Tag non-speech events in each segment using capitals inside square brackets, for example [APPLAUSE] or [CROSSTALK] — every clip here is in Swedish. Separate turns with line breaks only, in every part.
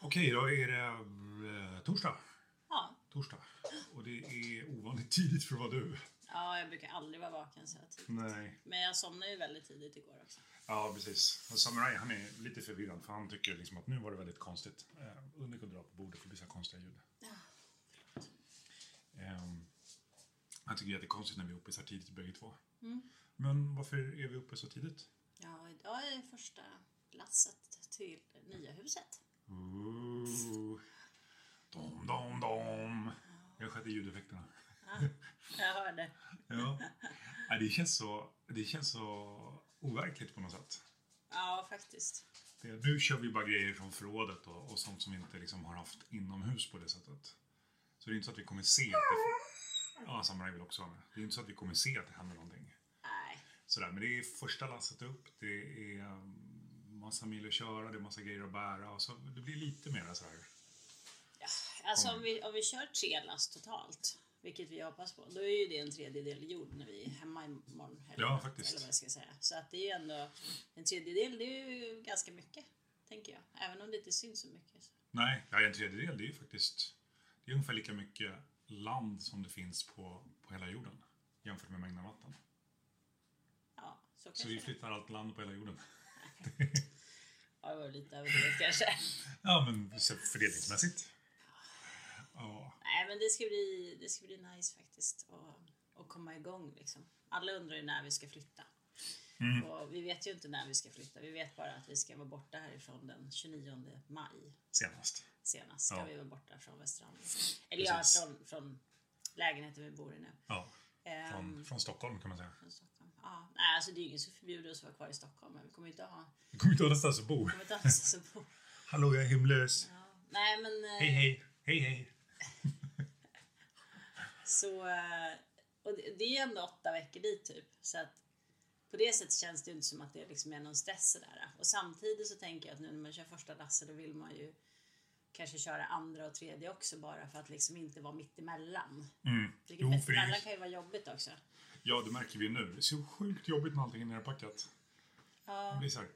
Okej, då är det eh, torsdag.
Ja.
Torsdag. Och det är ovanligt tidigt för att vara du.
ja, jag brukar aldrig vara vaken så här tidigt.
Nej.
Men jag somnade ju väldigt tidigt igår också.
Ja, precis. Och Samurai, han är lite förvirrad för han tycker liksom att nu var det väldigt konstigt. Eh, Unni kunde dra på bordet för det blir så här konstiga ljud. Ehm, han tycker att det är konstigt när vi är uppe så här tidigt bägge två. Men varför är vi uppe så tidigt?
Ja, idag är första lasset till nya huset.
Ooh. Dom, dom, dom. Jag skötte ljudeffekterna.
Jag hörde.
Ja. Nej, Det känns så, det känns så overkligt på något sätt.
Ja, faktiskt.
Det, nu kör vi bara grejer från förrådet och, och sånt som vi inte liksom har haft inomhus på det sättet. Så det är inte så att vi kommer se att det... Ja, Samurai vill också vara med. Det är inte så att vi kommer se att det händer någonting.
Nej.
Sådär, men det är första lasset upp, det är um, massa mil att köra, det är massa grejer att bära och så det blir lite mer så här.
Ja, alltså om vi, om vi kör tre last totalt, vilket vi hoppas på, då är ju det en tredjedel jord när vi är hemma imorgon. Eller,
Ja, faktiskt.
Eller vad jag ska säga. Så att det är ju ändå, en tredjedel det är ju ganska mycket, tänker jag. Även om det inte syns så mycket. Så.
Nej, ja, en tredjedel det är ju faktiskt det är ungefär lika mycket land som det finns på, på hela jorden jämfört med mängden vatten.
Ja, så kanske
Så vi
det-
flyttar allt land på hela jorden.
Ja, det var lite överdrivet kanske.
Ja, men så fördelningsmässigt. Ja,
Nej, men det ska bli, det ska bli nice faktiskt att, att komma igång liksom. Alla undrar ju när vi ska flytta.
Mm.
Och vi vet ju inte när vi ska flytta. Vi vet bara att vi ska vara borta härifrån den 29 maj
senast.
senast. Ska
Ja.
vi vara borta från Västerhamn. Eller
Precis.
ja, från, från lägenheten vi bor i nu.
Ja,
Ehm,
från, från Stockholm kan man säga.
från Stockholm. Ja, nej, alltså det är ju ingen som förbjuder oss att vara kvar i Stockholm. Men vi kommer ju inte ha...
Vi kommer inte ha någonstans att bo.
Vi kommer inte ha [LAUGHS] någonstans att bo.
Hallå, jag är hemlös.
Ja. Nej, men... eh,
Hej, hej. Hej, hej.
Så, eh, och det det är ju ändå åtta veckor dit typ. Så att på det sättet känns det ju inte som att det liksom är någon stress sådär. Och samtidigt så tänker jag att nu när man kör första lasset då vill man ju kanske köra andra och tredje också bara för att liksom inte vara mittemellan.
Mm.
Vilket
Jo, för det
mittemellan
är,
kan ju vara jobbigt också.
ja, det märker vi nu. Det är så sjukt jobbigt när allting är nerpackat. Det
Ja,
blir så här.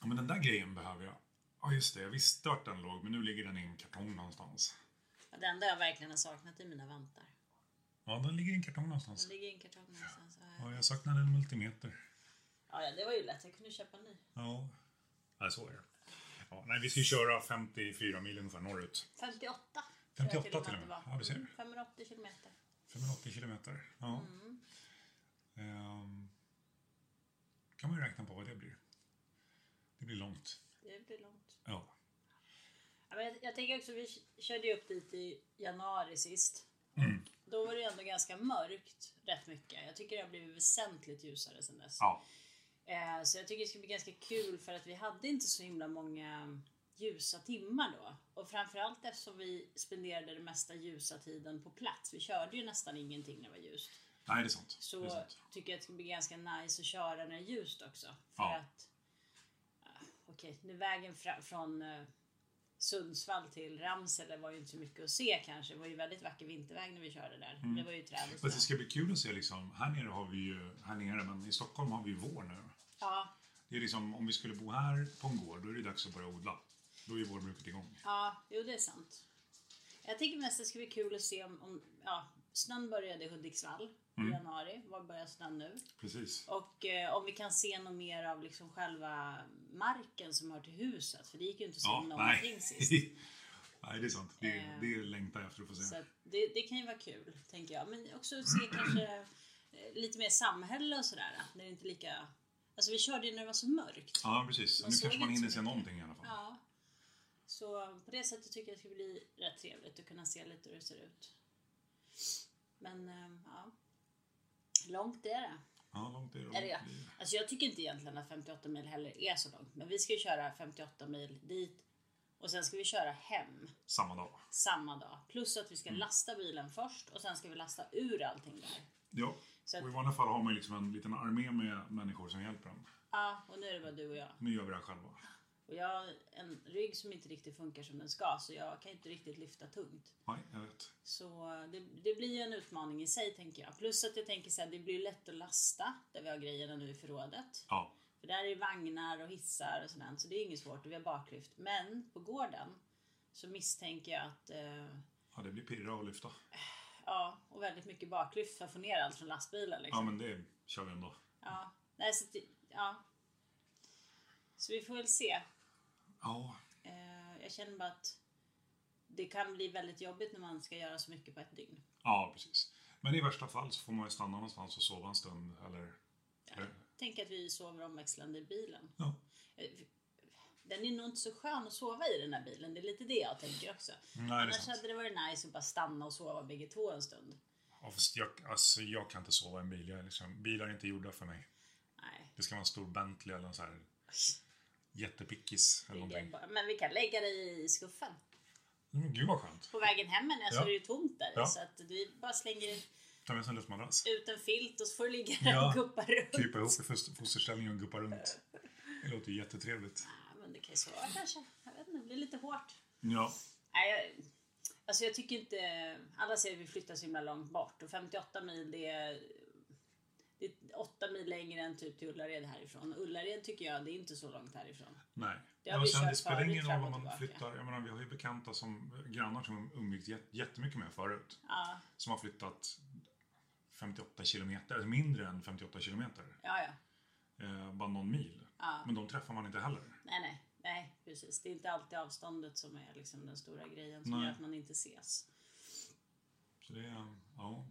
Ja, men den där grejen behöver jag. Ja, just det. Jag visste vart den låg, men nu ligger den i en kartong någonstans.
det enda jag verkligen har saknat är mina vantar.
Ja, den ligger i en kartong
De
någonstans.
ligger i en kartong någonstans.
Ja, jag saknar en multimeter.
Ja, ja, det var ju lätt. Jag kunde köpa en ny.
Ja, ja så är det. Ja, nej, vi ska ju köra 54 mil ungefär norrut.
58. tror jag
58 till och med.
att det var.
Ja, du ser.
Mm, 580 kilometer.
580 kilometer. Ja. Ehm, kan man ju räkna på vad det blir. Det blir långt.
Det blir långt.
Ja.
Ja, men jag, jag tänker också, vi körde ju upp dit i januari sist. Då var det ju ändå ganska mörkt rätt mycket. Jag tycker det har blivit väsentligt ljusare sedan dess.
ja.
Eh, så jag tycker det ska bli ganska kul för att vi hade inte så himla många ljusa timmar då. Och framförallt eftersom vi spenderade den mesta ljusa tiden på plats. Vi körde ju nästan ingenting när det var ljust.
Nej, det är sant.
Så
Det är sant.
tycker jag att det ska bli ganska nice att köra när det är ljust också. För
Ja.
att... Ah, Okej, nu vägen fra, från eh, Sundsvall till Ramsele var ju inte så mycket att se kanske. Det var ju väldigt vacker vinterväg när vi körde där.
Mm.
Det var ju träd och
Fast det
sådär.
ska bli kul att se liksom, här nere har vi ju, här nere, men i Stockholm har vi ju vår nu.
Ja,
Det är liksom, om vi skulle bo här på en gård, då är det dags att börja odla. Då är ju vårbruket igång.
ja, jo det är sant. Jag tänker mest att det ska bli kul att se om... om ja, snön började i Hudiksvall
Mm.
i januari. Var börjar snön nu?
Precis.
Och eh, om vi kan se något mer av liksom själva marken som hör till huset. För det gick ju inte att se
Ja,
någonting
nej.
sist.
[LAUGHS] nej, det är sant. Det,
Eh.
det längtar jag efter att få
Så
se.
att det, det kan ju vara kul, tänker jag. Men också se kanske eh, lite mer samhälle och sådär. Att det är inte lika... Alltså vi körde ju när det var så mörkt.
Ja, precis.
Man
Nu
såg
kanske man
inte så
hinner se
mycket.
någonting i alla fall.
Ja. Så på det sättet tycker jag det ska bli rätt trevligt att kunna se lite hur det ser ut. Men eh, ja. Långt är det.
Ja, långt är det.
Eller ja, alltså jag tycker inte egentligen att 58 mil heller är så långt. Men vi ska ju köra 58 mil dit och sen ska vi köra hem
Samma dag.
samma dag. Plus att vi ska lasta bilen först och sen ska vi lasta ur allting där.
Ja,
Så att-
och i vanliga fall har man ju liksom en liten armé med människor som hjälper en.
Ja, och nu är det bara du och jag.
Nu gör vi det här själva.
Och jag har en rygg som inte riktigt funkar som den ska så jag kan inte riktigt lyfta tungt.
Nej, jag vet.
Så det, det blir ju en utmaning i sig tänker jag. Plus att jag tänker så här, det blir ju lätt att lasta där vi har grejerna nu i förrådet.
Ja,
För För där är vagnar och hissar och sådant, så det är inget svårt och vi har baklyft. Men på gården så misstänker jag att eh,
Ja, det blir pirra och lyfta.
Ja, och väldigt mycket baklyft för att få ner allt från lastbilen.
Ja,
Liksom.
men det kör vi ändå.
Ja. Nej, så, det- ja. så vi får väl se.
Ja,
Eh, Jag känner bara att det kan bli väldigt jobbigt när man ska göra så mycket på ett dygn.
ja precis. Men i värsta fall så får man ju stanna någonstans och sova en stund eller...
Ja. Tänk att vi sover omväxlande i bilen.
Ja.
Eh, Den är nog inte så skön att sova i den här bilen. Det är lite det jag tänker också.
Nej, det är
Annars
sant.
hade det varit nice att bara stanna och sova bägge två en stund.
Ja, fast jag, alltså, jag kan inte sova i en bil. Jag är liksom, bilar är inte gjorda för mig.
Nej.
Det ska vara en stor Bentley eller en sån här jättepickis eller
det är
någonting.
bara- Men vi kan lägga dig i skuffen.
Mm, gud vad skönt.
På vägen hem men alltså
Ja.
det är ju tomt där i,
Ja.
så att vi bara slänger
Ta med sig en
[LAUGHS]
luftmadrass.
ut en filt och så får du ligga där
Ja. Typ.
och guppa runt.
Krypa ihop i foster- fosterställning och guppa runt. Det låter ju jättetrevligt.
Ja, men det kan ju sova kanske. Jag vet inte, det blir lite hårt.
Ja,
Nej, jag, alltså jag tycker inte... Alla säger att vi flyttar så himla långt bort och 58 mil det är, det är 8 mil längre än typ till Ullared härifrån. Och Ullared tycker jag, det är inte så långt härifrån.
nej.
Det har
men
vi
sen,
kört
det spelar
förut,
ingen roll om
fram och
man
tillbaka.
flyttar. Jag menar, vi har ju bekanta som grannar som vi umgicks jät- jättemycket med förut.
Ja,
Som har flyttat 58 kilometer, alltså mindre än 58 kilometer.
ja, ja.
Eh, bara någon mil.
Ja.
Men de träffar man inte heller.
Nej, nej, nej, precis. Det är inte alltid avståndet som är liksom den stora grejen som
Nej.
gör att man inte ses.
Så det är, ja.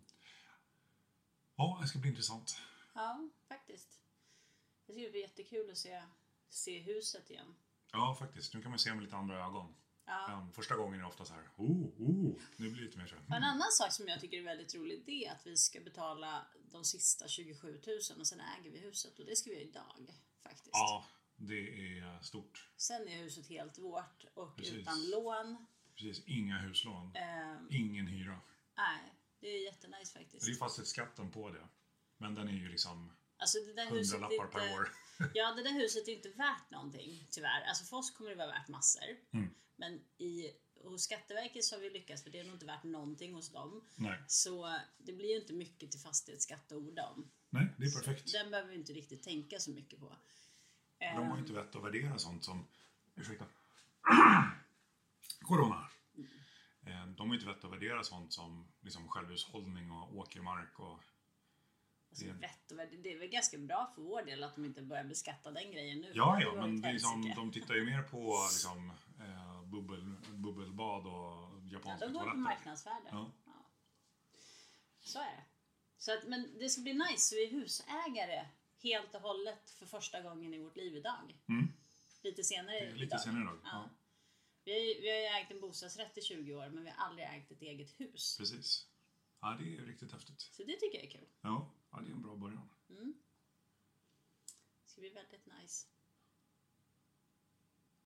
Ja, det ska bli intressant.
Ja, faktiskt. Jag tycker det blir jättekul att se, se huset igen.
Ja, faktiskt. Nu kan man se med lite andra ögon.
Ja.
Än första gången är det ofta så här, oh, oh. Nu blir det lite mer så här,
Och en
mm.
annan sak som jag tycker är väldigt rolig det är att vi ska betala de sista 27 000 och sen äger vi huset och det ska vi göra idag faktiskt.
Ja, det är stort.
Sen är huset helt vårt och
Precis.
utan lån.
Precis, inga huslån.
Eh,
Ingen hyra.
nej, det är jättenice
Det är
faktiskt.
fastighetsskatten på det. Men den är ju liksom
Alltså det där huset är
hundralappar
inte,
per år.
Ja, det där huset är inte värt någonting tyvärr. Alltså för oss kommer det vara värt massor.
Mm.
Men i, hos Skatteverket så har vi lyckats för det är nog inte värt någonting hos dem.
Nej,
Så det blir ju inte mycket till fastighetsskatt att orda om.
nej det är perfekt.
Den behöver vi inte riktigt tänka så mycket på. Ehm,
De har ju inte vett att värdera sånt som... Ursäkta. Corona.
Mm.
Eh, De har ju inte vett att värdera sånt som liksom självhushållning och åkermark och...
Alltså, vett och värde. Det är väl ganska bra för vår del att de inte börjar beskatta den grejen nu.
Ja,
Det
ja,
var
men
ett
det är liksom,
helsike.
de tittar ju mer på liksom, eh, bubbel, bubbelbad och
Ja,
japanska
de går på
toaletter.
marknadsvärde.
Ja.
Så är det. Så att, men det ska bli nice, så vi är husägare helt och hållet för första gången i vårt liv idag.
Mm.
Lite senare
Det är Lite
idag.
senare idag.
Ja.
Ja,
Vi, har ju- vi har ju ägt en bostadsrätt i 20 år men vi har aldrig ägt ett eget hus.
precis. Ja, det är ju riktigt häftigt.
Så det tycker jag är kul.
Ja, ja det är en bra början.
Det ska bli väldigt nice.